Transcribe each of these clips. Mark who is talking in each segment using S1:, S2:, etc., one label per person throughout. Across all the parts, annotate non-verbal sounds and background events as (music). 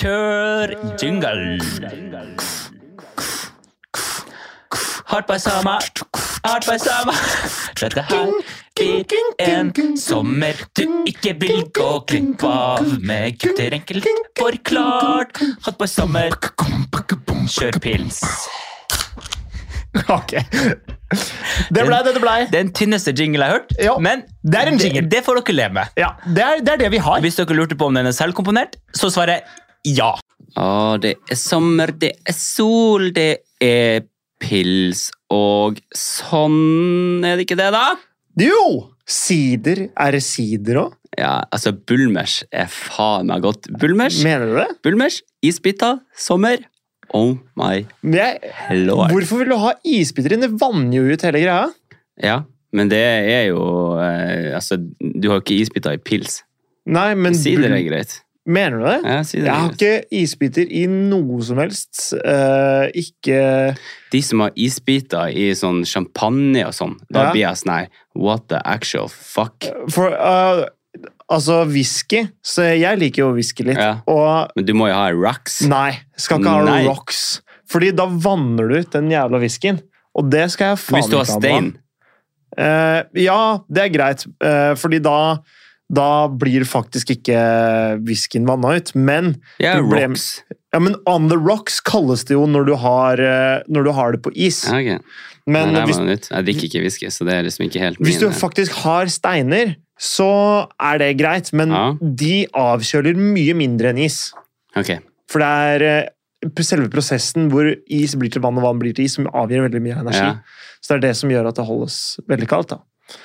S1: Kjør jingle! Hardt bersama, hardt bersama. Dette her blir en sommer du ikke vil gå glipp av. Med gutter enkelt forklart. Hardt bersama, kjør pils.
S2: (laughs) Ok. Det blei det det blei.
S1: Den tynneste jingle jeg har hørt,
S2: Ja.
S1: men
S2: Det er en jingle.
S1: det får dere leve med.
S2: Ja, det er, det er det vi har.
S1: Hvis dere lurte på om den er selvkomponert, så svarer jeg ja.
S3: Å, det er sommer, det er sol, det er pils og sånn Er det ikke det, da?
S2: Jo! Sider er sider òg.
S3: Ja, altså, Bulmers er faen meg godt. Bulmers,
S2: Mener du det?
S3: bulmers, isbiter, sommer. Oh my
S2: Men jeg,
S3: lord.
S2: hvorfor vil du ha isbiter inn? Det vanner jo ut hele greia.
S3: Ja, men det er jo eh, Altså, du har ikke isbiter i pils.
S2: Nei, men
S3: Sider er
S2: bul-
S3: greit.
S2: Mener du det?
S3: Ja, sider
S2: Jeg
S3: er
S2: har
S3: greit.
S2: ikke isbiter i noe som helst. eh, ikke
S3: De som har isbiter i sånn champagne og sånn, da
S2: Ja.
S3: blir jeg sånn her What the actual fuck?
S2: For eh, Altså, whisky Så jeg liker jo whisky litt.
S3: Ja.
S2: Og
S3: Men du må jo ha rocks.
S2: nei, skal ikke ha
S3: Nei.
S2: rocks. Fordi da vanner du ut den jævla whiskyen. Og det skal jeg faen
S3: Hvis du
S2: ikke
S3: har
S2: ha noe av.
S3: stein.
S2: Eh, ja, det er greit, eh, fordi da, da blir faktisk ikke whiskyen vanna ut. Men,
S3: Ja,
S2: Problem-
S3: rocks.
S2: ja, men on the rocks kalles det jo når du har, eh, når du har det på is.
S3: Ja, ok.
S2: Men
S3: Nei, der var
S2: hvis,
S3: den ut. Jeg drikker ikke whisky, så det er liksom ikke helt
S2: hvis du
S3: min.
S2: faktisk har steiner, så er det greit, men
S3: Ja.
S2: de avkjøler mye mindre enn is.
S3: eh, Ok,
S2: For det er eh, selve prosessen hvor is blir til vann og vann blir til is, som avgir veldig mye energi.
S3: ja.
S2: Så det er det som gjør at det holdes veldig kaldt. da.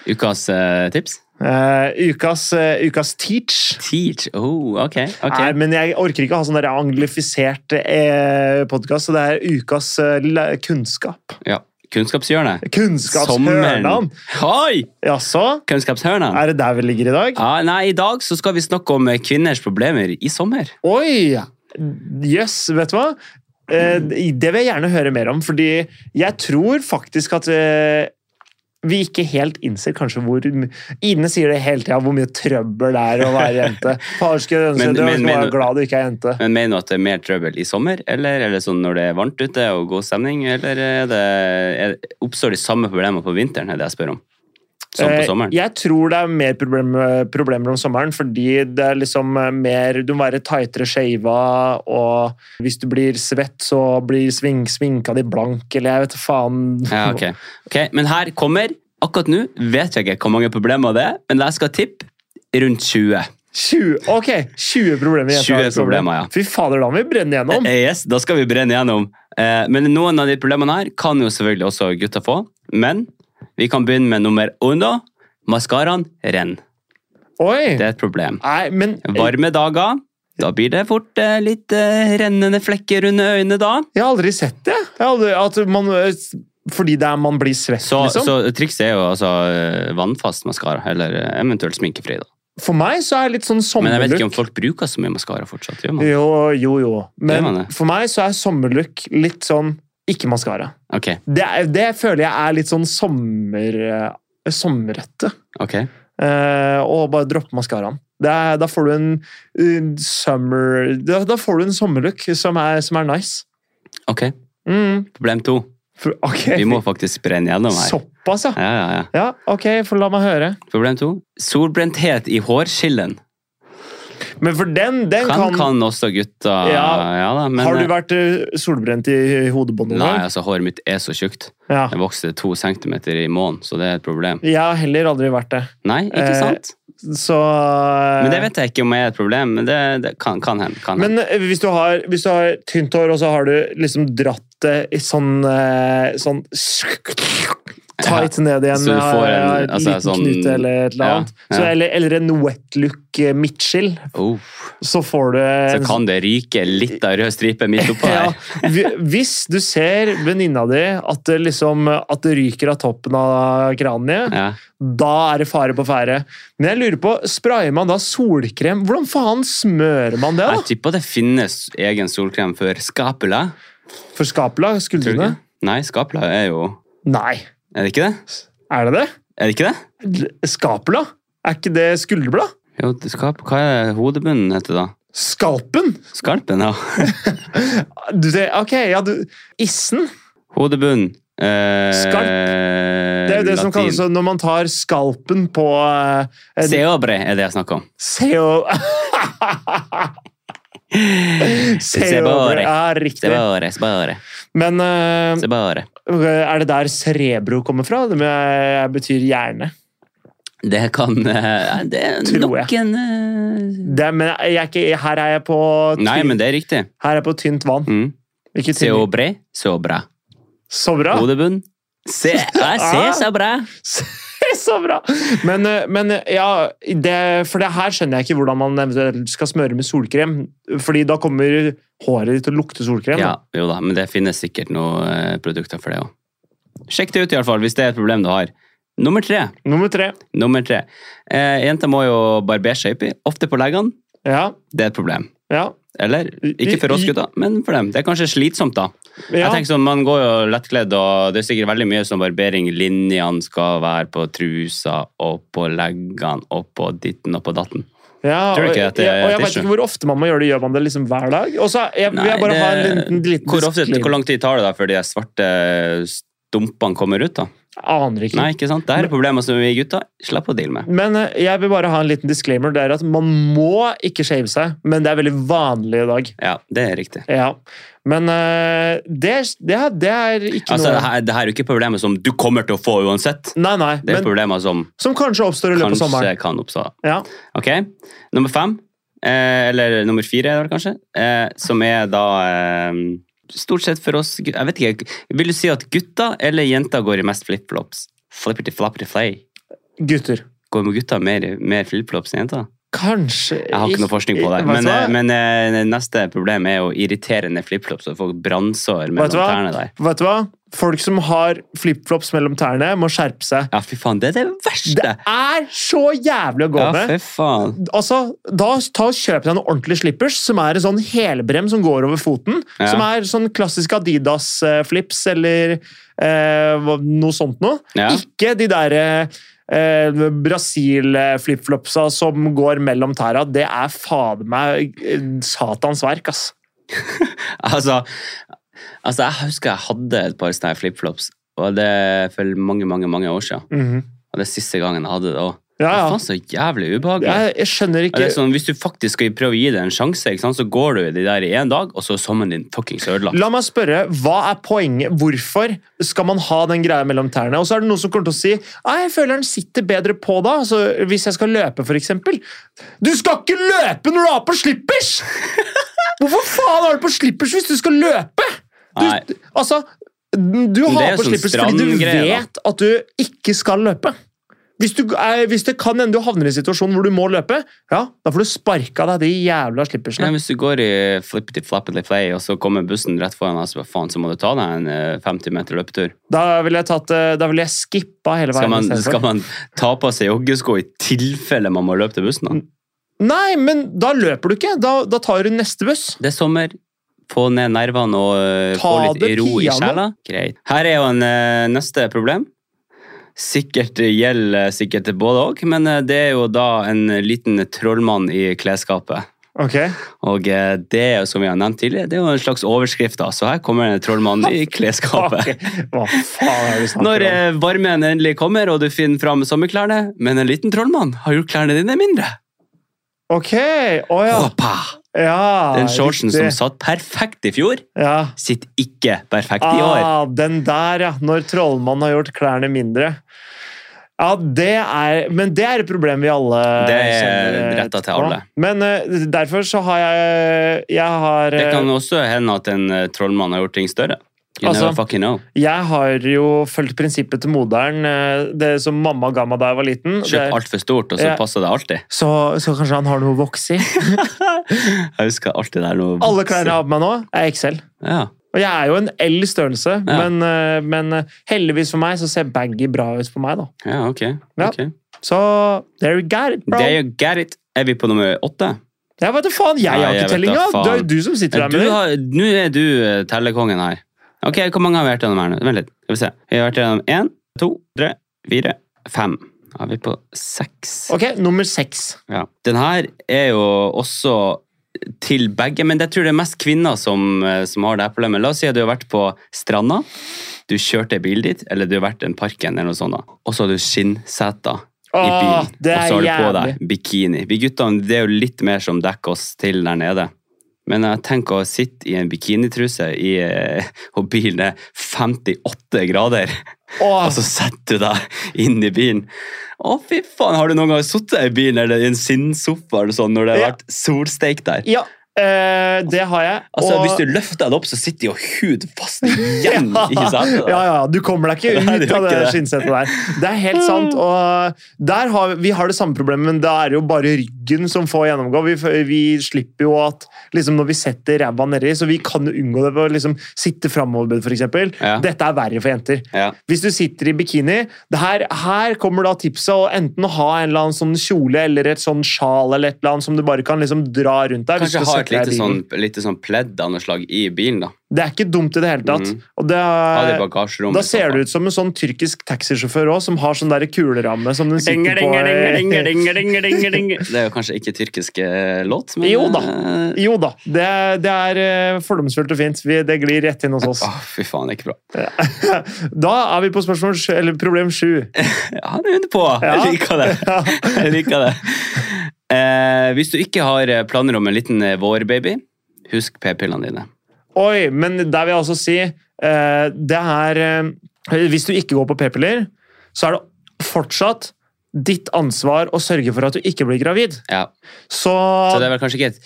S3: Ukas eh, tips?
S2: Eh, ukas, eh, ukas teach
S3: Teach. Oh, ok. ok.
S2: Nei, men jeg orker ikke å ha sånn der anglifisert eh, podkast, så det er ukas eh, la- kunnskap.
S3: Ja. Kunnskapshjørnet.
S2: Kunnskapshørnan!
S3: Oi!
S2: Jaså?
S3: Kunnskapshørnet.
S2: Er det der vi ligger i dag?
S3: Ja, nei, I dag så skal vi snakke om eh, kvinners problemer i sommer.
S2: Oi! Jøss, yes, vet du hva? Eh,
S3: Mm.
S2: det vil jeg gjerne høre mer om, fordi jeg tror faktisk at eh, vi ikke helt innser kanskje hvor m- Ine sier det hele tida, hvor mye trøbbel det er å være
S3: (laughs)
S2: jente. Far skulle ønske
S3: Men-
S2: du
S3: men- men-
S2: var glad du ikke er jente.
S3: Men Mener du at det er mer trøbbel i sommer, eller er det sånn når det er varmt ute og god stemning, eller er det, er, oppstår de samme problemer på vinteren, er det jeg spør om? Som på
S2: Eh,
S3: sommeren?
S2: Jeg tror det er mer problem, eh, problemer om sommeren, fordi det er liksom eh, mer Du må være tightere shava, og hvis du blir svett, så blir sving, sminka di blank, eller jeg vet da faen.
S3: Ja, ok. ok. Men her kommer, akkurat nå vet jeg ikke hvor mange problemer det er, men jeg skal tippe rundt 20.
S2: 20, ok, 20 problemer.
S3: 20
S2: jenter har et problem.
S3: problemer, ja.
S2: Fy fader, da må vi brenne gjennom.
S3: Eh, Yes, da skal vi brenne gjennom. Eh, Men noen av de problemene her kan jo selvfølgelig også gutta få, men vi kan begynne med nummer uno. Maskaraen renner. Det
S2: Oi!
S3: er et problem.
S2: Nei, men jeg
S3: Varme dager, da blir det fort eh, litt eh, rennende flekker under øynene da.
S2: har aldri sett det. Jeg har aldri, at man, eh, fordi det er man blir svett,
S3: Så,
S2: liksom.
S3: så trikset er jo altså eh, vannfast maskara, eller eh, eventuelt sminkefri. da.
S2: For meg så er det litt sånn
S3: Men jeg vet
S2: sommerlook.
S3: ikke om folk bruker så mye maskara fortsatt. gjør man?
S2: Jo, jo, jo.
S3: Gjør
S2: Men
S3: man det?
S2: for meg så er sommerlook litt sånn ikke maskara.
S3: Ok,
S2: Det, er, det føler jeg er litt sånn sommer, eh, sommerrette.
S3: ok.
S2: Eh, og bare droppe maskaraen. Det er- Da får du en eh, summer Da, da får du en sommerlook som er, som er nice.
S3: ok.
S2: Mm.
S3: Problem to.
S2: For, ok, (laughs)
S3: Vi må faktisk brenne gjennom her.
S2: Såpass, ja.
S3: Ja, ja, ja.
S2: ja. Ok, for la meg høre.
S3: Problem to. Solbrenthet i hårskillen.
S2: Men for den, den
S3: Kan,
S2: kan,
S3: kan, også gutta. Ja,
S2: Ja.
S3: da, men,
S2: Har du vært eh, solbrent i hodebåndet
S3: Nei,
S2: noen gang?
S3: altså håret mitt er så tjukt.
S2: Ja.
S3: Det vokser to centimeter i måneden, så det er et problem.
S2: Jeg har heller aldri vært det.
S3: Nei, ikke
S2: Eh,
S3: sant?
S2: Så eh,
S3: Men det vet jeg ikke om jeg er et problem, men det, det kan, kan hende. Kan hende.
S2: Men eh, hvis du har, hvis du har tynt hår, og så har du liksom dratt det i sånn, eh, sånn Tight ned igjen
S3: så du får en-
S2: eh,
S3: altså,
S2: liten
S3: sånn-
S2: knute eller et eller
S3: ja,
S2: annet.
S3: ja.
S2: Så, eller, eller en wet look eh, midtskill,
S3: Oh,
S2: så får du
S3: så
S2: en
S3: kan det ryke litt av rød stripe midt oppå
S2: Eh, (laughs) ja,
S3: her.
S2: hvi- Hvis du ser venninna di at det, liksom, at det ryker av toppen av kraniet,
S3: Ja.
S2: da er det fare på ferde. Men jeg lurer på, sprayer man da solkrem? Hvordan faen smører man det?
S3: Jeg
S2: da?
S3: tipper det finnes egen solkrem for skapula.
S2: For skapla?
S3: Tror du
S2: Skuldrene?
S3: ikke? Nei, skapula er jo
S2: Nei.
S3: Er det ikke det?
S2: Er det det?
S3: Er det ikke det?
S2: Skapla? Er ikke det skulderblad?
S3: Jo, skap, hva er det hodebunnen heter da?
S2: Skalpen!
S3: Skalpen,
S2: (laughs)
S3: ja.
S2: Du, det, ok, ja, du Issen.
S3: Hodebunnen. Eh,
S2: Skalp. Det er jo det som kalles
S3: latin.
S2: så når man tar skalpen på eh, en-
S3: Seobre er det jeg snakker
S2: (laughs)
S3: om.
S2: Seo... (laughs) Seobre.
S3: Sebare.
S2: Ja, riktig.
S3: Sebare, sebare,
S2: Men eh,
S3: sebare.
S2: er det der cerebro kommer fra? Det med, betyr hjerne.
S3: Det kan eh, Det er
S2: Tror
S3: nok en eh,
S2: Det, er- men jeg er ikke, her er jeg på, ty,
S3: Nei, men det er riktig.
S2: her er jeg på tynt vann.
S3: Mm.
S2: Ikke tynt.
S3: Seobre, sobra.
S2: Så bra!
S3: Hodebunn.
S2: (laughs)
S3: Se, jeg
S2: Ah.
S3: ser så bra!
S2: (laughs) Så bra! Men, eh, men eh, ja, det, for det her skjønner jeg ikke hvordan man eventuelt skal smøre med solkrem. Fordi da kommer håret ditt til å lukte solkrem.
S3: Ja,
S2: da.
S3: jo da, men det finnes sikkert noen eh, produkter for det òg. Sjekk det ut, i alle fall, hvis det er et problem du har. Nummer tre.
S2: Nummer tre.
S3: Nummer tre. Eh, jenter må jo barbere seg oppi, ofte på leggene.
S2: Ja,
S3: Det er et problem.
S2: ja,
S3: Eller? Ikke for oss gutter, men for dem. Det er kanskje slitsomt, da.
S2: ja.
S3: Jeg tenker sånn, Man går jo lettkledd, og det er sikkert veldig mye sånn barbering. Linjene skal være på trusa og på leggene og på ditten og på datten.
S2: Ja,
S3: Tror du
S2: og,
S3: ikke at det
S2: ja, og
S3: er
S2: jeg
S3: et
S2: vet
S3: issue?
S2: ikke hvor ofte man må gjøre det. Gjør man det liksom hver dag? Og så jeg, vil
S3: Nei,
S2: jeg bare ha en
S3: det-
S2: liten, liten
S3: Hvor, ofte,
S2: disclaimer.
S3: hvor lang tid tar det da før de svarte stumpene kommer ut? da?
S2: Aner ikke.
S3: Nei, ikke sant? Det her er problemer som vi gutter slipper å deale med.
S2: Men eh, jeg vil bare ha en liten disclaimer. Det er at man må ikke shave seg, men det er veldig vanlig i dag.
S3: Ja, det er riktig.
S2: Ja. Men eh, det, det, er- det er ikke
S3: Altså, det
S2: noe
S3: her, det her er jo ikke problemer som du kommer til å få uansett.
S2: Nei, nei.
S3: Det er
S2: Men,
S3: problemer som
S2: som kanskje oppstår i løpet av
S3: kanskje
S2: sommeren.
S3: kan oppstå.
S2: Ja.
S3: Ok, nummer fem, eh, eller nummer fire er det vel kanskje, eh, som er da eh, stort sett for oss, gu- jeg vet ikke, vil du si at gutta eller jenta går i mest flip-flops? Flippity-flappity-flay.
S2: Gutter.
S3: Går med gutta mer, mer flip-flops enn jenta?
S2: Kanskje
S3: Jeg har ikke noe forskning på det,
S2: Vet du
S3: men, eh,
S2: hva?
S3: men eh, neste problem er jo irriterende flip-flops og folk brannsår
S2: Vet du
S3: mellom
S2: hva?
S3: tærne der.
S2: Vet du hva? Folk som har flipflops mellom tærne, må skjerpe seg.
S3: Ja, fy faen, det er det verste!
S2: Det er så jævlig å gå
S3: Ja,
S2: med!
S3: fy faen.
S2: altså, da ta og kjøp deg noen ordentlige slippers, som er en sånn helbrem som går over foten.
S3: Ja.
S2: Som er sånn klassisk Adidas-flips eller eh, hva- noe sånt noe.
S3: Ja.
S2: Ikke de der eh, Brasil-flipflopsa som går mellom tæra. Det er fader meg eh, satans verk, ass.
S3: Altså, altså, jeg husker jeg hadde et par sånne her flipflops, og det er for mange, mange, mange år siden.
S2: Mhm.
S3: Og det er siste gangen jeg hadde det òg.
S2: Ja,
S3: Det
S2: ja.
S3: faen så jævlig ubehagelig.
S2: Jeg, jeg skjønner
S3: Og Det
S2: ikke
S3: er sånn, hvis du faktisk skal prøve å gi det en sjanse, ikke sant? så går du i de der i én dag, og så er sommeren din fuckings ødelagt.
S2: La meg spørre, hva er poenget? Hvorfor skal man ha den greia mellom tærne? Og så er det noen som kommer til å si Nei, jeg føler den sitter bedre på da, altså, hvis jeg skal løpe, for eksempel. Du skal ikke løpe når du har på
S3: (laughs)
S2: slippers! Hvorfor faen har du på slippers hvis du skal løpe? Du,
S3: Nei.
S2: altså, du
S3: Men det er
S2: har
S3: jo
S2: på
S3: sånn
S2: slippers fordi du
S3: strandgreie, da.
S2: vet at du ikke skal løpe. Hvis, du, eh, hvis det kan hende du havner i en situasjon hvor du må løpe, ja, da får du sparka deg de jævla
S3: Ja,
S2: slippersene.
S3: hvis du går i flippity flappity flay, og så kommer bussen rett foran deg, så bare faen, så må du ta deg en eh, 50 meter løpetur.
S2: Da ville jeg, tatt, eh, da ville jeg skippa hele
S3: Skal
S2: veien.
S3: man,
S2: istedenfor.
S3: skal man ta på seg joggesko i tilfelle man må løpe til bussen? da?
S2: Nei, men da løper du ikke. Da, da tar du neste buss.
S3: Det er sommer. Få ned nervene og eh,
S2: Ta
S3: få litt
S2: det
S3: ro i
S2: piano.
S3: sjela. Greit. Her er jo en eh, neste problem. Sikkert gjelder sikkert til både òg, men eh, det er jo da en liten trollmann i klesskapet.
S2: Ok.
S3: Og eh, det er jo, som vi har nevnt tidligere, det er jo en slags overskrift, da. Så her kommer en trollmann
S2: (laughs)
S3: i klesskapet.
S2: Hva faen er det vi snakker
S3: Når
S2: om?
S3: eh, varmen endelig kommer, og du finner fram sommerklærne, men en liten trollmann har gjort klærne dine mindre.
S2: Ok, å ja.
S3: Hoppa!
S2: ja.
S3: Den shortsen som
S2: riktig.
S3: satt perfekt i fjor,
S2: ja.
S3: sitter ikke perfekt i år.
S2: Ah, den der, ja. Når trollmannen har gjort klærne mindre. Ja, det er Men det er et problem vi alle
S3: Det er
S2: kjenner
S3: rettet til
S2: på.
S3: alle.
S2: Men eh, derfor så har jeg Jeg har
S3: Det
S2: eh,
S3: kan også hende at en eh, trollmann har gjort ting større. You
S2: Altså-
S3: never fucking know.
S2: Jeg har jo fulgt prinsippet til moderen, eh, det som mamma ga meg da jeg var liten. Det
S3: Kjøp
S2: er-
S3: altfor stort, og så
S2: Ja.
S3: passer det alltid. (laughs)
S2: Så, så kanskje han har noe å vokse i.
S3: Jeg husker alltid det er noe
S2: Alle klærne jeg har på meg nå, er XL.
S3: Ja.
S2: Og jeg er jo en L i størrelse,
S3: Ja.
S2: men, eh, men eh, heldigvis for meg så ser baggy bra ut på meg, da.
S3: ja, ok.
S2: Ja.
S3: ok.
S2: Så there you got it, bro.
S3: Det er jo get it. Er vi på nummer åtte?
S2: Jeg vet da faen, jeg
S3: Nei, jeg
S2: har ikke
S3: vet da
S2: tellinga!
S3: faen.
S2: Det er jo du som
S3: Du
S2: sitter der med det.
S3: har, nå er du eh, tellekongen her. Ok, Hvor mange har vi vært gjennom her nå? Vent litt. Skal vi se. Vi har vært gjennom én, to, tre, fire, fem. Da er vi på seks.
S2: Ok, nummer seks.
S3: Ja. Den her er jo også til begge, men jeg tror det er mest kvinner som, eh, som har det her problemet. La oss si at du har vært på stranda, du kjørte bilen dit, eller du har vært i en parken, eller noe sånt, da. og så har du skinnseter i
S2: Åh,
S3: bilen,
S2: det
S3: og så
S2: er
S3: har du på
S2: jævlig.
S3: deg bikini. Vi guttene, det er jo litt mer som dekker oss til der nede. Men jeg tenker å sitte i en bikinitruse i, eh, og bilen er 58 grader,
S2: Åh,
S3: og så setter du deg inn i bilen. Å, fy faen, har du noen gang sittet i bilen eller i en sinnsofa eller sånn, når det har
S2: Ja.
S3: vært solsteik der?
S2: Ja, eh, det har jeg.
S3: Altså,
S2: og-
S3: Hvis du løfter den opp, så sitter jo hud fast igjen (laughs) i setet.
S2: (laughs) Ja,
S3: da.
S2: ja, ja. Du kommer deg ikke
S3: Nei,
S2: ut
S3: det gjør
S2: av det
S3: ikke det.
S2: skinnsetet der. Det er helt sant. og der har Vi vi har det samme problemet, men det er jo bare ryggen som får gjennomgå. Vi, vi slipper jo at liksom, når vi setter ræva nedi, så vi kan jo unngå det ved å liksom, sitte framoverbøyd, f.eks.
S3: Ja.
S2: Dette er verre for jenter.
S3: Ja.
S2: Hvis du sitter i bikini det her, her kommer da tipset å enten ha en eller annen sånn kjole eller et sånn sjal eller et eller annet som du bare kan liksom dra rundt deg. hvis
S3: Kanskje
S2: du
S3: ha et
S2: setter deg i
S3: lite sånn,
S2: bilen.
S3: lite sånn pledd av noe slag i bilen, da.
S2: Det er ikke dumt i det hele tatt.
S3: Mhm.
S2: Og det
S3: Ha det i
S2: er,
S3: bagasjerommet.
S2: Eh, da ser du ut som en sånn tyrkisk taxisjåfør òg, som har sånn der kuleramme som den sitter på eh,
S3: Det er jo kanskje ikke tyrkisk eh, låt, men
S2: Jo da.
S3: eh,
S2: (laughs) Jo da, det, det er eh, fordomsfullt og fint. Vi, det glir rett inn hos oss.
S3: Å, fy faen, det er ikke bra.
S2: Da er vi på spørsmål, sj- eller problem sju.
S3: Ja, Han er under på!
S2: Ja.
S3: Jeg liker det.
S2: (laughs) Ja.
S3: (laughs) Jeg liker det. Eh, hvis du ikke har eh, planer om en liten eh, vårbaby, husk p-pillene dine.
S2: Oi, men der vil jeg også si eh, Det er eh, Hvis du ikke går på p-piller, så er det fortsatt ditt ansvar å sørge for at du ikke blir gravid.
S3: Ja.
S2: Så,
S3: Så det er vel kanskje ikke et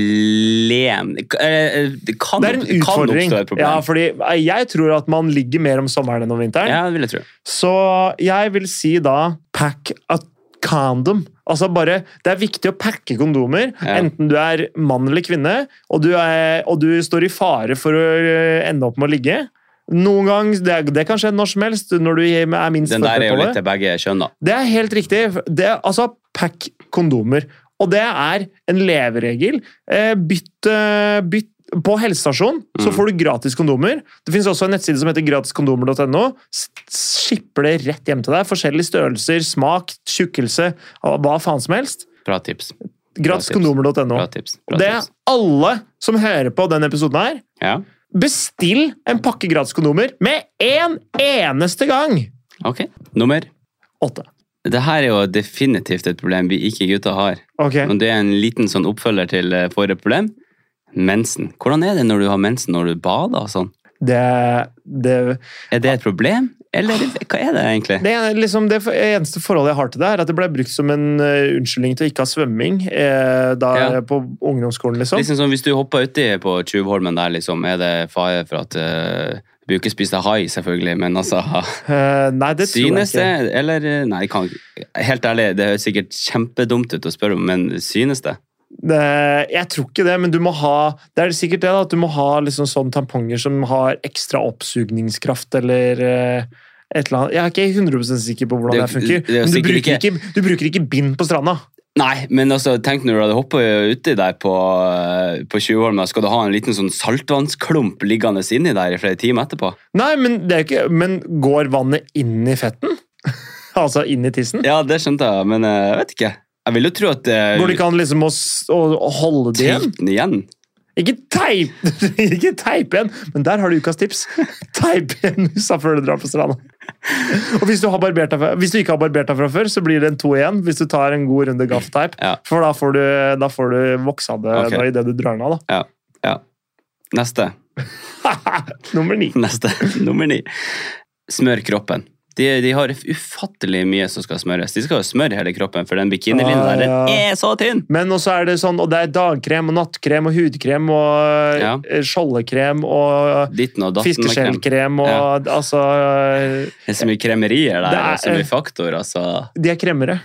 S3: problem Det k- eh, det kan,
S2: det er en
S3: kan
S2: utfordring.
S3: oppstå et problem.
S2: Ja, fordi eh, jeg tror at man ligger mer om sommeren enn om vinteren.
S3: Ja, det vil jeg tro.
S2: Så jeg vil si da pack a condom. Altså bare, Det er viktig å pakke kondomer,
S3: Ja.
S2: enten du er mann eller kvinne, og du, er, og du står i fare for å øh, ende opp med å ligge. Noen gang, det, er- det kan skje når som helst, når du er minst
S3: Den der er jo
S2: forberedt på
S3: litt
S2: det.
S3: til begge kjønn, da.
S2: Det er helt riktig. Det, er- altså, pakk kondomer. Og det er en leveregel. Eh, bytt, eh, bytt på helsestasjonen så
S3: Mm.
S2: får du gratis kondomer. Det finnes også en nettside som heter gratiskondomer.no. S- Skipper det rett hjem til deg. Forskjellige størrelser, smak, tjukkelse, hva hva faen som helst.
S3: Bra tips. tips. Bra
S2: Gratiskondomer.no.
S3: tips. Bra
S2: Og det er
S3: tips.
S2: alle som hører på denne episoden her.
S3: Ja,
S2: Bestill en pakke gratis kondomer med en eneste gang!
S3: ok. Nummer
S2: Åtte.
S3: Dette er jo definitivt et problem vi ikke gutter har.
S2: Ok.
S3: Og det er en liten sånn oppfølger til eh, forrige problem. Mensen. Hvordan er det når du har mensen når du bader og sånn?
S2: Det, det
S3: Er det et problem, eller hva er det egentlig?
S2: Det, er liksom det eneste forholdet jeg har til det, er at det ble brukt som en eh, unnskyldning til ikke å ha svømming eh, da,
S3: Ja.
S2: på ungdomsskolen. liksom.
S3: Liksom sånn, Hvis du hopper uti på Tjuvholmen der, liksom, er det fare for at eh, Du blir jo ikke spist av hai, selvfølgelig, men altså
S2: Eh, nei, det tror jeg
S3: Synes det,
S2: ikke.
S3: eller eh, Nei, jeg kan, helt ærlig, det høres sikkert kjempedumt ut å spørre om, men synes det?
S2: det. Jeg tror ikke det, men du må ha det er sikkert det da, at du må ha liksom sånne tamponger som har ekstra oppsugningskraft eller eh, et eller annet. Jeg er ikke 100 sikker på hvordan det,
S3: Det-
S2: funker.
S3: det er jo
S2: men du
S3: sikkert
S2: bruker ikke, du bruker ikke bind på stranda.
S3: Nei, men altså, tenk når du hadde hoppet uti der på, eh, på Tjuvholmen, skal du ha en liten sånn saltvannsklump liggende inni der i flere timer etterpå?
S2: Nei, men, det er ikke, men går vannet inn i fetten? (laughs) altså inn i tissen?
S3: Ja, det skjønte jeg, men eh, jeg vet ikke. Jeg vil jo tro at eh,
S2: Går det ikke an liksom å, s- å, å holde det igjen?
S3: Driten igjen.
S2: Ikke teip, (laughs) ikke teip igjen, men der har du ukas
S3: (laughs)
S2: tips. Teip igjen musa før du drar på stranda. Og hvis du, har barbert deg fra, hvis du ikke har barbert deg fra før, så blir det en to igjen hvis du tar en god runde gaffteip.
S3: Ja.
S2: For da får du, da får du vokse av det
S3: Ok.
S2: okay. idet du drar den av.
S3: Ja. ja. Neste.
S2: Da. (laughs) Nummer ni.
S3: Neste. (laughs) Nummer ni. Smør kroppen. De, de har ufattelig mye som skal smøres. De skal jo smøre hele kroppen, for den bikinilinja
S2: Ah,
S3: der den
S2: ja.
S3: er så tynn!
S2: Men også er det sånn, og det er dagkrem og nattkrem og hudkrem og
S3: Ja.
S2: eh, skjoldekrem og eh,
S3: Ditten og datten. med krem.
S2: fiskeskjellkrem og altså
S3: Det er så mye kremerier der,
S2: Det
S3: det
S2: er-
S3: er, så mye faktor,
S2: (laughs)
S3: altså.
S2: De er
S3: (laughs)
S2: kremmere.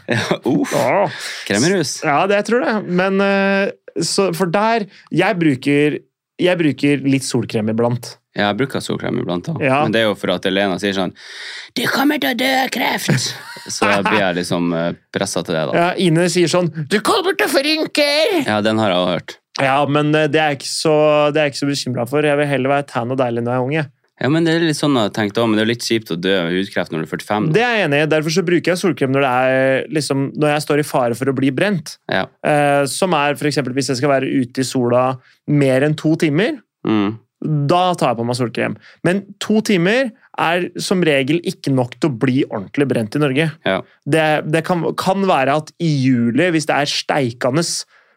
S3: Uff,
S2: Åh.
S3: kremmerhus.
S2: Ja, det jeg tror det. Men eh, så, For der jeg bruker, jeg bruker litt solkrem iblant.
S3: Ja, jeg bruker solkrem iblant, da.
S2: Ja.
S3: men det er jo for at Elena sier sånn 'Du kommer til å dø av
S2: (laughs)
S3: kreft!' Så da blir jeg liksom pressa til det, da.
S2: Ja, Ine sier sånn 'Du kommer til å forrynke!'
S3: Ja, den har jeg også hørt.
S2: Ja, men eh, det er jeg ikke så, det er jeg ikke så bekymra for. Jeg vil heller være tan og deilig når jeg er ung. jeg.
S3: Ja, men det er litt sånn jeg har tenkt også, men det er litt kjipt å dø av hudkreft når du er 45. da.
S2: Det er jeg enig i. Derfor så bruker jeg solkrem når, det er, liksom, når jeg står i fare for å bli brent.
S3: Ja.
S2: Eh, som er f.eks. hvis jeg skal være ute i sola mer enn to timer.
S3: Mm.
S2: Da tar jeg på meg solkrem. Men to timer er som regel ikke nok til å bli ordentlig brent i Norge.
S3: Ja.
S2: Det, det kan, kan være at i juli, hvis det er steikende,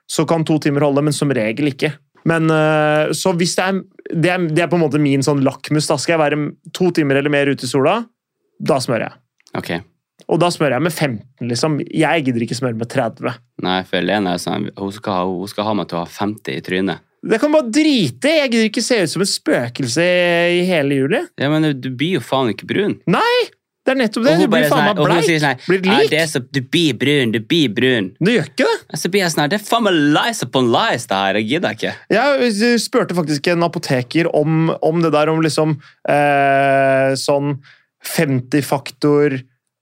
S2: så kan to timer holde, men som regel ikke. Men øh, så hvis det er Det er, det er på en måte min sånn lakmus. Da skal jeg være to timer eller mer ute i sola. Da smører jeg.
S3: Ok.
S2: Og da smører jeg med 15, liksom. Jeg gidder ikke smøre med 30.
S3: Nei, for Lene er sånn, hun skal, ha, hun skal ha meg til å ha 50 i trynet.
S2: Det kan du bare drite i! Jeg gidder ikke se ut som et spøkelse i hele juli.
S3: Ja, men du blir jo faen ikke brun.
S2: Det er nettopp
S3: Og
S2: det.
S3: hun
S2: Du blir
S3: bare
S2: faen
S3: sånn
S2: meg
S3: her- og hun
S2: bleik.
S3: sier sånn her,
S2: Blir
S3: «Nei,
S2: lik.
S3: det er så, du blir brun, du blir brun.
S2: Du gjør ikke det.
S3: Og så blir jeg sånn her, det er faen meg lies upon lies det her, jeg gidder ikke.
S2: Jeg spurte faktisk en apoteker om, om det der, om liksom eh, sånn 50-faktor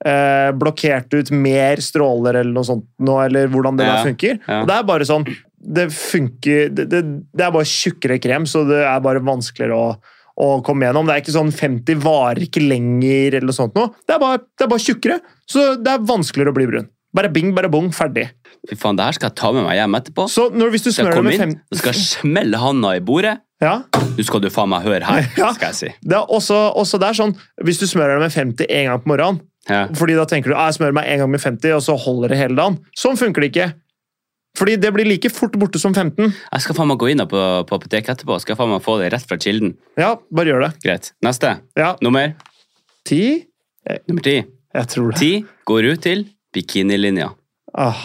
S2: eh, blokkert ut mer stråler eller noe sånt nå, eller hvordan det
S3: Ja,
S2: der funker.
S3: ja.
S2: Og det er bare sånn Det funker Det, det, det er bare tjukkere krem, så det er bare vanskeligere å å komme gjennom. Det er ikke sånn 50 varer ikke lenger, eller noe sånt. Noe. Det, er bare, det er bare tjukkere, så det er vanskeligere å bli brun. Bare bing, bare bong, ferdig.
S3: Fy faen, det her skal jeg ta med meg hjem etterpå.
S2: Så når, hvis du
S3: Skal jeg
S2: smører det
S3: komme
S2: med
S3: inn,
S2: fem...
S3: så skal jeg smelle handa i bordet.
S2: Ja,
S3: Nå skal du faen meg høre her,
S2: (laughs) Ja.
S3: skal jeg si.
S2: Det er også, også der sånn, Hvis du smører deg med 50 en gang på morgenen,
S3: Ja.
S2: fordi da tenker du «Ah, jeg smører meg en gang med 50, og så holder det hele dagen. Sånn funker det ikke. Fordi det blir like fort borte som 15.
S3: Jeg skal faen meg gå inn da på, på apoteket etterpå, skal jeg faen meg få det rett fra kilden.
S2: Ja, bare gjør det.
S3: Greit. Neste.
S2: Ja,
S3: Nummer,
S2: 10?
S3: nummer ti.
S2: Jeg tror det.
S3: Ti går ut til bikinilinja.
S2: Ah,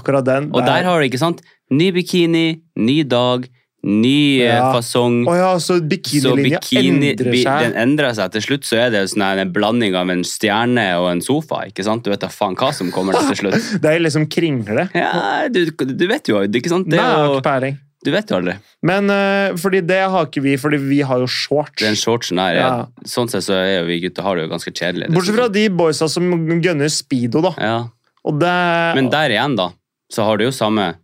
S2: akkurat den.
S3: Og der har du, ikke sant, ny bikini, ny dag, ny eh,
S2: Ja.
S3: fasong.
S2: Å ja, så bikinilinja endrer
S3: bi-
S2: seg.
S3: Den endrer seg. Til slutt så er det jo sånn her en blanding av en stjerne og en sofa. ikke sant? Du vet da faen hva som kommer der til
S2: (laughs)
S3: slutt.
S2: Det er liksom kringle.
S3: Ja, du, du vet jo, ikke sant?
S2: Nei,
S3: Det
S2: jeg
S3: er
S2: har
S3: jo,
S2: ikke peiling.
S3: du vet jo aldri.
S2: Men eh, fordi det har ikke vi, fordi vi har jo shorts.
S3: Den shortsen her, ja.
S2: Ja.
S3: sånn sett så er jo vi gutter har det jo ganske kjedelig. Det er
S2: Bortsett fra de boysa som gønner speedo, da.
S3: sånn- Ja,
S2: Og det,
S3: Men der igjen, da, så har du jo samme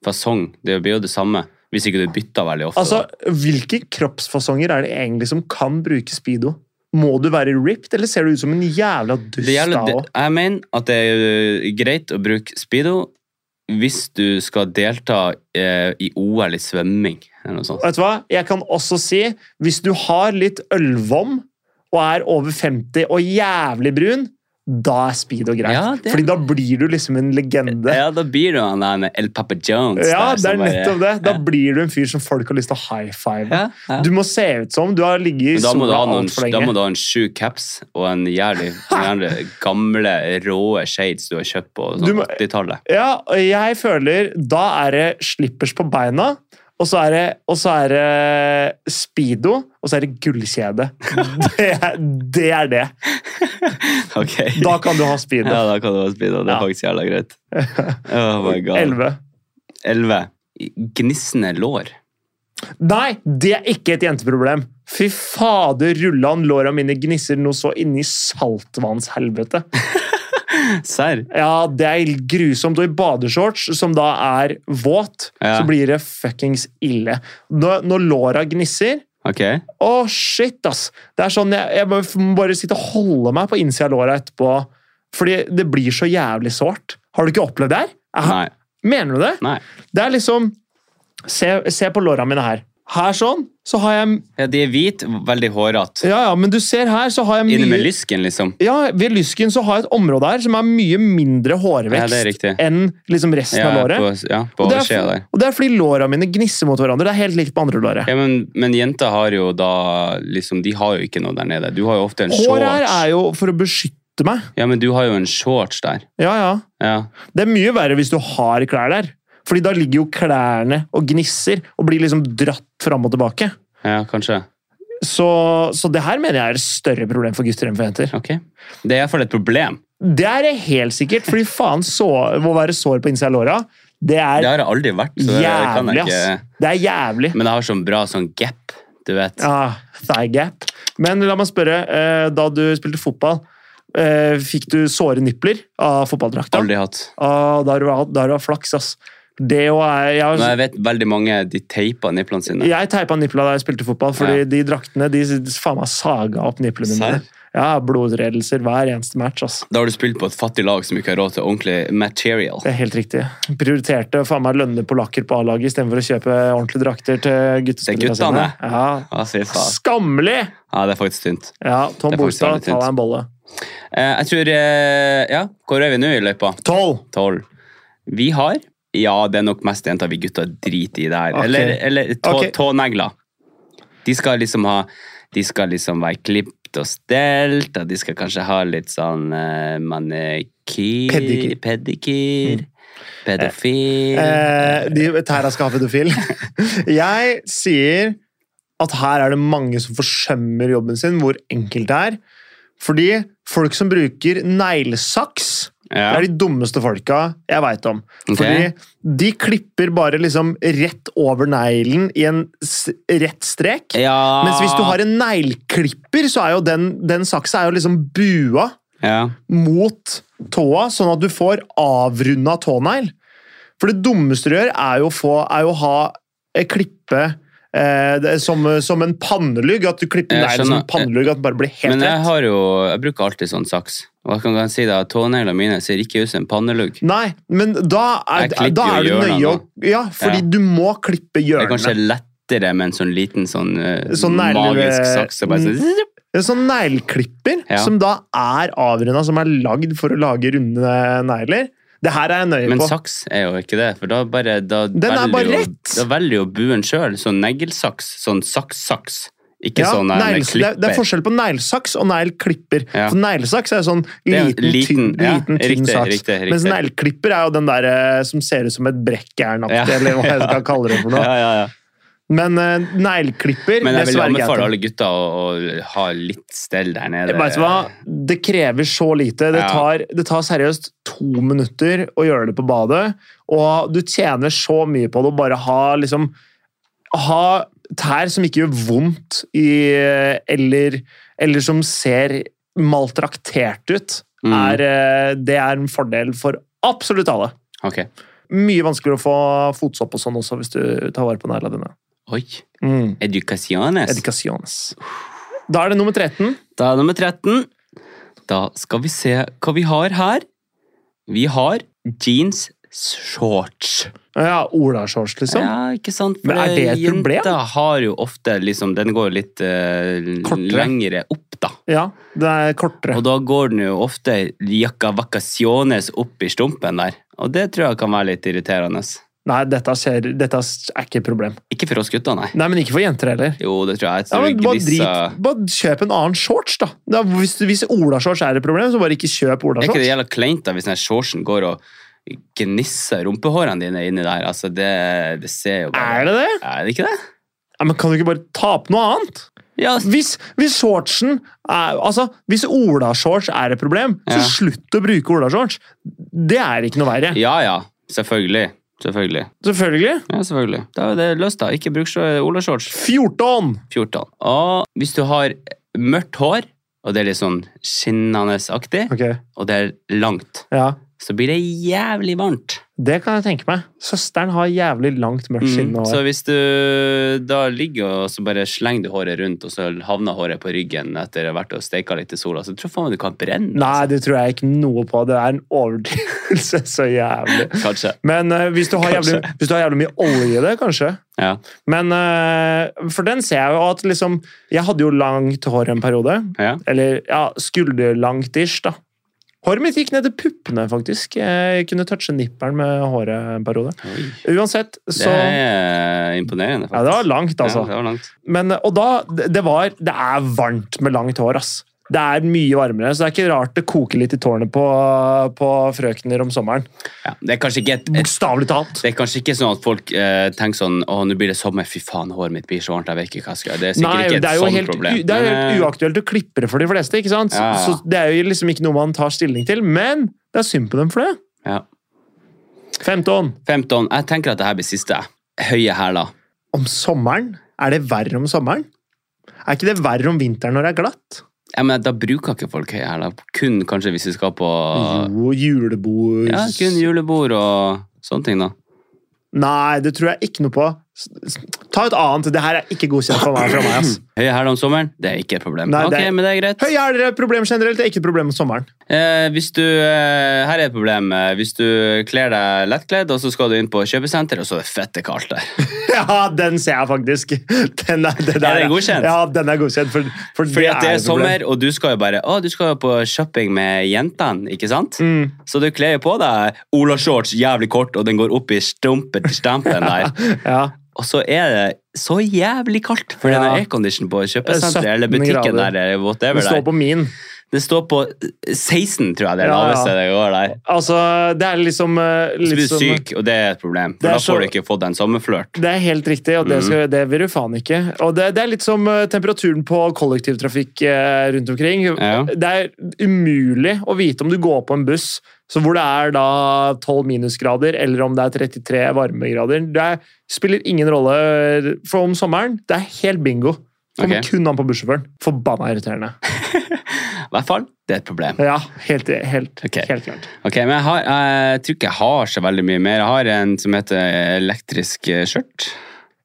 S3: fasong. Det blir jo det samme. Hvis ikke du bytter veldig ofte.
S2: Altså,
S3: da.
S2: Hvilke kroppsfasonger er det egentlig som kan bruke speedo? Må du være ripped, eller ser du ut som en jævla dust?
S3: det gjelder,
S2: da
S3: det,
S2: også?
S3: jeg mener at det er ø, greit å bruke speedo hvis du skal delta eh, i OL i svømming eller noe sånt.
S2: Vet du hva? Jeg kan også si, hvis du har litt ølvom og er over 50 og jævlig brun, da er speedo greit.
S3: Ja, det-
S2: Fordi da blir du liksom en legende.
S3: Ja, da blir du han der El Papa Jones. der,
S2: Ja, det
S3: som
S2: er
S3: bare-
S2: nettopp det. Da blir du en fyr som folk har lyst til å high five.
S3: Ja, ja.
S2: Du må se ut som du har ligget
S3: Men
S2: i
S3: da må, du
S2: sola
S3: ha noen,
S2: altfor
S3: da
S2: lenge.
S3: må du ha en sjuk caps og en
S2: (laughs)
S3: jævlig jævlig gamle, råe shades du har kjøpt på
S2: Du
S3: sånn
S2: må- (laughs)
S3: 80-tallet.
S2: Ja, og jeg føler da er det slippers på beina, og så er det, og så er det speedo, og så er det
S3: (laughs)
S2: gullkjede. Det er, det er det.
S3: Ok.
S2: Da kan du ha speedo.
S3: Ja, da kan du ha speedo. Det er
S2: Ja.
S3: faktisk jævla greit.
S2: (laughs)
S3: Oh my god.
S2: 11.
S3: 11. Gnissende lår.
S2: Nei, det er ikke et jenteproblem. Fy fader, rullan låra mine gnisser noe så inni saltvannshelvete.
S3: Serr?
S2: Ja, det er grusomt. Og i badeshorts, som da er våt,
S3: Ja.
S2: så blir det fuckings ille. Når, når låra gnisser,
S3: Ok.
S2: Å, shit, ass! Det er sånn, jeg, jeg må må bare sitte og holde meg på innsida av låra etterpå. Fordi det blir så jævlig sårt. Har du ikke opplevd det her? Jeg har-
S3: Nei.
S2: Mener du det?
S3: Nei.
S2: Det er liksom Se, se på låra mine her. Her sånn, så har jeg
S3: Ja, de er hvite, veldig hårete.
S2: Ja, ja, men du ser her, så har jeg
S3: Inne med
S2: mye
S3: lysken, liksom.
S2: ja, Ved lysken så har jeg et område her som er mye mindre
S3: Ja, det er
S2: hårvekst
S3: riktig.
S2: enn liksom resten
S3: Ja,
S2: av låret.
S3: på, ja, på
S2: Og det er
S3: oversida
S2: f-
S3: der.
S2: Og det er fordi låra mine gnisser mot hverandre. Det er helt likt på andre låret.
S3: Ja, men, men jenter har jo da liksom, De har jo ikke noe der nede. Du har jo ofte en
S2: Håret her
S3: shorts.
S2: er jo for å beskytte meg.
S3: Ja, men du har jo en shorts der.
S2: Ja, ja.
S3: Ja.
S2: Det er mye verre hvis du har klær der. Fordi da ligger jo klærne og gnisser og blir liksom dratt fram og tilbake.
S3: ja, kanskje.
S2: Så, så det her mener jeg er et større problem for gutter enn for jenter.
S3: Ok. Det er iallfall et problem.
S2: Det er det helt sikkert, fordi faen så, å være sår på innsida av låra, det
S3: Det
S2: er
S3: har jeg aldri vært, så det kan
S2: jævlig,
S3: jeg
S2: ass.
S3: ikke
S2: Det er jævlig.
S3: Men jeg har sånn bra sånn gap, du vet.
S2: Ah, thigh gap. Men la meg spørre, eh, da du spilte fotball, eh, fikk du såre nipler av fotballdrakta?
S3: Aldri hatt.
S2: Ah, da har du hatt- da har du hatt flaks, ass. Det jo er Jeg,
S3: Men
S2: har-
S3: jeg vet veldig mange de teiper nipplene sine.
S2: jeg teipa nipla da jeg spilte fotball, fordi
S3: Ja.
S2: de draktene de faen meg saga opp niplene
S3: Serr?
S2: mine. Ja, blodutredelser hver eneste match. ass.
S3: Da har du spilt på et fattig lag som ikke har råd til ordentlig material.
S2: Det er helt riktig. Prioriterte faen meg lønne polakker på A-laget istedenfor å kjøpe ordentlige drakter til guttespillerne sine.
S3: guttene.
S2: Ja.
S3: Ja, fy faen.
S2: Skammelig!
S3: Ja, det er faktisk tynt.
S2: Ja, Tom
S3: Det er faktisk
S2: Bolstad,
S3: veldig
S2: ta
S3: tynt.
S2: deg en bolle.
S3: Eh, jeg tror eh, Ja, hvor er vi nå i løypa?
S2: Tolv!
S3: Tolv. Vi har Ja, det er nok mest jenter vi gutter driter i det her.
S2: Ok.
S3: Eller, eller tå,
S2: Ok.
S3: tånegler. De skal liksom ha De skal liksom være klipt og stelt, og de skal kanskje ha litt sånn eh, manikyr
S2: Pedikyr. Mm.
S3: Pedikyr. Pedofil
S2: Eh, de, Tæra skal ha pedofil.
S3: (laughs)
S2: Jeg sier at her er det mange som forsømmer jobben sin, hvor enkelt det er. Fordi folk som bruker neglesaks, det
S3: Ja.
S2: er de dummeste folka jeg veit om.
S3: Ok.
S2: Fordi de klipper bare liksom rett over neglen i en s rett strek.
S3: ja.
S2: Mens hvis du har en negleklipper, så er jo den, den saksa er jo liksom bua
S3: ja.
S2: mot tåa, sånn at du får avrunda tånegl. For det dummeste du gjør, er jo å, få, er jo å ha eh, klippe eh, det, som, som en pannelugg. At du klipper
S3: Jeg
S2: neglen som
S3: skjønner.
S2: en pannelugg, at den bare blir helt
S3: Men jeg
S2: rett.
S3: har jo Jeg bruker alltid sånn saks. Og jeg kan kan si det at tåneglene mine ser ikke ut som en pannelugg.
S2: Nei, men da er,
S3: Jeg klipper
S2: da er
S3: jo
S2: det nøye å
S3: hjørnene,
S2: Ja, fordi
S3: Ja.
S2: du må klippe
S3: Det er kanskje
S2: hjørnene.
S3: lettere med en sånn liten sånn, eh,
S2: Sånn Mm. negle-
S3: magisk saks. som Bare sånn,
S2: Det er En sånn negleklipper
S3: Ja.
S2: som da er avrunda, som er lagd for å lage runde negler. Det her er jeg nøye
S3: men
S2: på.
S3: saks er jo ikke det, for da bare da
S2: Den er bare
S3: jo,
S2: rett.
S3: Da velger jo buen sjøl. Sånn neglesaks. Sånn saks-saks. Ikke
S2: Ja,
S3: sånn der med
S2: negles- det, er- det er
S3: klipper.
S2: forskjell på neglesaks og negleklipper.
S3: Ja.
S2: For neglesaks er jo sånn
S3: Det er
S2: liten,
S3: liten,
S2: tynn,
S3: ja,
S2: liten, tynn
S3: riktig,
S2: saks.
S3: riktig, riktig.
S2: Mens negleklipper er jo den der eh, som ser ut som et
S3: (laughs)
S2: brekkjernaktig,
S3: Ja.
S2: eller hva jeg skal kalle det for noe.
S3: Ja, ja, ja.
S2: Men uh, negleklipper
S3: Men jeg vil
S2: dessverre
S3: anbefale
S2: greit.
S3: alle gutter å, å ha litt stell der nede.
S2: Vet du hva? Det krever så lite. Det
S3: Ja.
S2: tar, det tar seriøst to minutter å gjøre det på badet, og du tjener så mye på det å bare ha liksom Ha tær som ikke gjør vondt i Eller, eller som ser maltraktert ut.
S3: Mm.
S2: Er, eh, det er en fordel for absolutt alle.
S3: Ok.
S2: Mye vanskeligere å få fotsopp og sånn også hvis du tar vare på neglene dine.
S3: Oi.
S2: Mm.
S3: Educaciones.
S2: Edikasjones. Da er det nummer 13.
S3: Da er nummer 13. Da skal vi se hva vi har her. Vi har jeans shorts.
S2: Ja, Ola-shorts, liksom.
S3: Ja, ikke sant? For
S2: Men er det et problem?
S3: Jenta har jo ofte liksom Den går jo litt eh,
S2: Kortere.
S3: lengre opp, da.
S2: Ja, det er kortere.
S3: Og da går den jo ofte jakka vacaciones opp i stumpen der. Og det tror jeg kan være litt irriterende.
S2: Nei, dette, ser, dette er ikke et problem.
S3: Ikke for oss gutter, nei.
S2: Nei, men ikke for jenter heller.
S3: Jo, det tror jeg. jeg
S2: Ja,
S3: tror
S2: men
S3: ikke
S2: bare,
S3: disse-
S2: drit, bare kjøp en annen shorts, da. da hvis hvis Ola-shorts er et problem, så bare ikke kjøp
S3: Er ikke det
S2: Ola-shorts.
S3: jævla kleint da, hvis den her shortsen går og gnisser rumpehårene dine inni der? Altså, det, det ser jo bare
S2: Er det det?
S3: Er det ikke det?
S2: Ja, men kan du ikke bare ta på noe annet?
S3: Ja,
S2: Hvis, hvis shortsen er, Altså, hvis Ola-shorts er et problem, så
S3: Ja.
S2: slutt å bruke Ola-shorts. Det er ikke noe verre.
S3: ja, ja. Selvfølgelig. Selvfølgelig.
S2: Selvfølgelig.
S3: Ja, selvfølgelig. Da er det løst, da. Ikke bruk så- olashorts.
S2: 14!
S3: 14. Og hvis du har mørkt hår, og det er litt sånn skinnende-aktig,
S2: Ok,
S3: og det er langt,
S2: ja.
S3: så blir det jævlig varmt.
S2: Det kan jeg tenke meg. Søsteren har jævlig langt mørkt skinn.
S3: Mm.
S2: og-
S3: Så hvis du da ligger og så bare slenger du håret rundt, og så havner håret på ryggen etter å ha vært og steika litt i sola, så tror jeg faen meg du kan brenne.
S2: Nei, det tror jeg ikke noe på. Det er en overdrivelse (laughs) så jævlig.
S3: Kanskje.
S2: Men eh, hvis, du har jævlig,
S3: Kanskje.
S2: hvis du har jævlig mye olje i det, kanskje.
S3: Ja.
S2: Men eh, For den ser jeg jo at liksom Jeg hadde jo langt hår en periode.
S3: ja.
S2: Eller ja, skulderlangt ish, da. Håret mitt gikk ned til puppene, faktisk. Jeg kunne touche nipperen med håret en periode.
S3: Oi.
S2: Uansett,
S3: Det
S2: så
S3: er imponerende,
S2: Ja,
S3: faktisk.
S2: det var langt, altså.
S3: Ja, det var langt.
S2: Men, og da, det det var, det er varmt med langt hår, ass. Det er mye varmere, så det er ikke rart det koker litt i tårnet på, på frøkner om sommeren.
S3: Ja, det er kanskje ikke et, et
S2: Bokstavelig talt.
S3: Det er kanskje ikke sånn at folk eh, tenker sånn Å, nå blir det sommer. Fy faen, håret mitt blir så varmt. Jeg vet ikke hva jeg skal gjøre. Det er sikkert
S2: Nei,
S3: ikke et
S2: det er jo
S3: sånt
S2: helt,
S3: problem.
S2: u- det er jo
S3: men,
S2: helt
S3: eh,
S2: uaktuelt å klippe det for de fleste, ikke sant?
S3: Ja, ja.
S2: Så det er jo liksom ikke noe man tar stilling til, men det er synd på dem for det.
S3: ja.
S2: 15.
S3: 15. Jeg tenker at det her blir siste. Høye hæler.
S2: Om sommeren? Er det verre om sommeren? Er ikke det verre om vinteren når det er glatt?
S3: Ja, men Da bruker ikke folk høye hæler. Kun kanskje
S2: Mhm.
S3: hvis vi skal på
S2: Jo, julebord
S3: ja, kun julebord og sånne ting, da.
S2: Nei, det tror jeg ikke noe på. S- s- Ta et annet. Det her er ikke godkjent for meg. Fra meg ass.
S3: Høye hæler om sommeren, det er ikke et problem.
S2: Nei,
S3: ok,
S2: det er-
S3: men det er greit.
S2: Høye hæler er et problem generelt, det er ikke et problem om sommeren.
S3: Eh, hvis du, eh, her er et problem. eh, Hvis du kler deg lettkledd, og så skal du inn på kjøpesenter, og så er det fette kaldt der.
S2: (laughs) Ja, den ser jeg faktisk. Den er, den
S3: Er den godkjent?
S2: Ja, den er godkjent. For,
S3: (laughs)
S2: for
S3: Fordi at det er
S2: et problem.
S3: sommer, og du skal jo bare Å, du skal jo på shopping med jentene, ikke sant?
S2: Mm.
S3: Så du kler jo på deg Ola-shorts jævlig kort, og den går opp i stumpen til stampen
S2: (laughs)
S3: der.
S2: Ja,
S3: Og så er det så jævlig kaldt, for den
S2: Ja.
S3: er aircondition på
S2: Det
S3: kjøpesenteret
S2: er
S3: eller
S2: 17
S3: butikken
S2: grader.
S3: der, eller
S2: det
S3: whatever
S2: står
S3: der.
S2: på min.
S3: Det står på 16, tror jeg det er det
S2: Ja, ja.
S3: laveste det går der.
S2: Altså, det er liksom eh,
S3: Så blir
S2: litt
S3: du
S2: som
S3: syk, og det er et problem,
S2: Det
S3: for
S2: er
S3: da
S2: så-
S3: får du ikke fått deg en sommerflørt.
S2: Det er helt riktig, og det,
S3: Mm.
S2: skal, det vil du faen ikke. Og det, det er litt som eh, temperaturen på kollektivtrafikk eh, rundt omkring.
S3: Ja.
S2: Det er umulig å vite om du går på en buss så hvor det er da 12 minusgrader, eller om det er 33 varmegrader. Det er, spiller ingen rolle for om sommeren. Det er helt bingo. Kommer
S3: Ok.
S2: kun an på bussjåføren. Forbanna irriterende.
S3: I hvert fall, det er et problem.
S2: Ja, helt, helt,
S3: Ok.
S2: helt klart.
S3: Ok, men jeg, har, jeg tror ikke jeg har så veldig mye mer. Jeg har en som heter elektrisk eh, skjørt.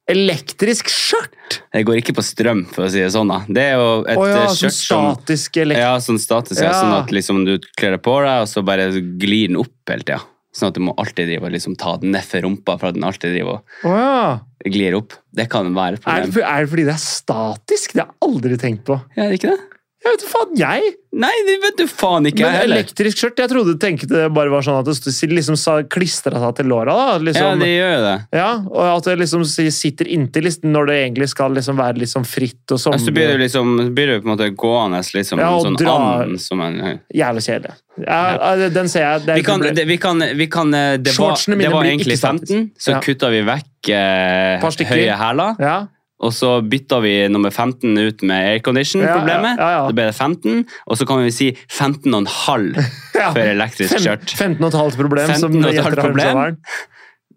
S2: Elektrisk skjørt!
S3: Det går ikke på strøm, for å si det sånn. da. Det er jo et
S2: Å ja,
S3: eh,
S2: sånn
S3: skjørt som
S2: statisk elektrisk
S3: Ja, sånn status, ja.
S2: Ja.
S3: Sånn at liksom du kler det på deg, og så bare glir den opp hele tida. Sånn at du må alltid drive og liksom ta den ned for rumpa for at den alltid driver og
S2: Å ja.
S3: glir opp. Det kan være et
S2: Er det,
S3: problem.
S2: for- er det fordi det er statisk? Det har jeg aldri tenkt på.
S3: Ja, er det ikke det?
S2: Jeg vet faen, jeg!
S3: Nei, det vet du faen ikke,
S2: Men
S3: jeg heller.
S2: elektrisk skjørt, jeg trodde du tenkte det bare var sånn at det liksom klistra seg til låra. da,
S3: Ja,
S2: liksom.
S3: det
S2: Ja,
S3: gjør jo det.
S2: Og at det liksom si- sitter inntil listen når det egentlig skal liksom være litt sånn fritt og sånn.
S3: Og så blir det liksom, så blir det på en måte gående litt som
S2: Ja, og
S3: en sånn
S2: dra-
S3: and som en
S2: Jævlig kjedelig. Ja, ja, Den ser jeg. Det er
S3: vi kan,
S2: ikke-
S3: det, vi kan, vi kan eh, Det var,
S2: Shortsene mine
S3: det var
S2: blir
S3: egentlig
S2: ikke
S3: 15,
S2: statisk.
S3: så
S2: Ja.
S3: kutta vi vekk eh,
S2: Par stykker.
S3: høye hæler.
S2: ja.
S3: Og så bytta vi nummer 15 ut med aircondition-problemet.
S2: Ja, ja, ja, ja.
S3: Da ble Mm, det 15, og så kan vi si 15,5
S2: Ja.
S3: for elektrisk
S2: Fem,
S3: skjørt.
S2: 15 og et halvt problem. som
S3: 15 og et
S2: gjeter
S3: halvt
S2: har
S3: problem.
S2: sommeren.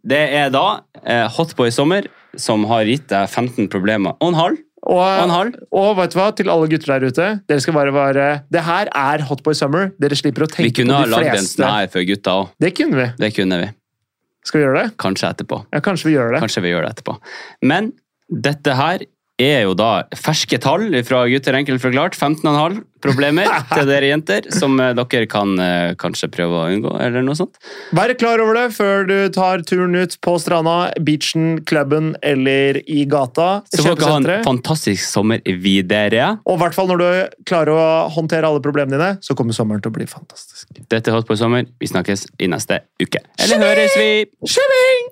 S3: Det er da eh, Hotboy Sommer som har gitt deg 15 problemer og en halv. Og en
S2: Og,
S3: halv.
S2: og vet du hva, til alle gutter der ute, dere skal bare være Det her er Hotboy Summer. Dere slipper å tenke
S3: Vi kunne ha
S2: på de
S3: lagd en
S2: fleste.
S3: sånn her for gutta òg.
S2: Det kunne vi.
S3: Det kunne vi.
S2: Skal vi gjøre det?
S3: Kanskje etterpå.
S2: Ja, kanskje vi gjør det.
S3: Kanskje vi gjør det etterpå. Men dette her er jo da ferske tall fra gutter enkelt forklart. 15,5
S2: (laughs)
S3: problemer til dere jenter, som eh, dere kan eh, kanskje prøve å unngå, eller noe sånt.
S2: Vær klar over det før du tar turen ut på stranda, beachen, klubben eller i gata.
S3: Så får dere ha en
S2: Kjøpesenteret.
S3: fantastisk sommer videre.
S2: Og i hvert fall når du klarer å håndtere alle problemene dine, så kommer sommeren til å bli fantastisk.
S3: Dette er Hotboy Sommer. Vi snakkes i neste uke. Eller høres vi!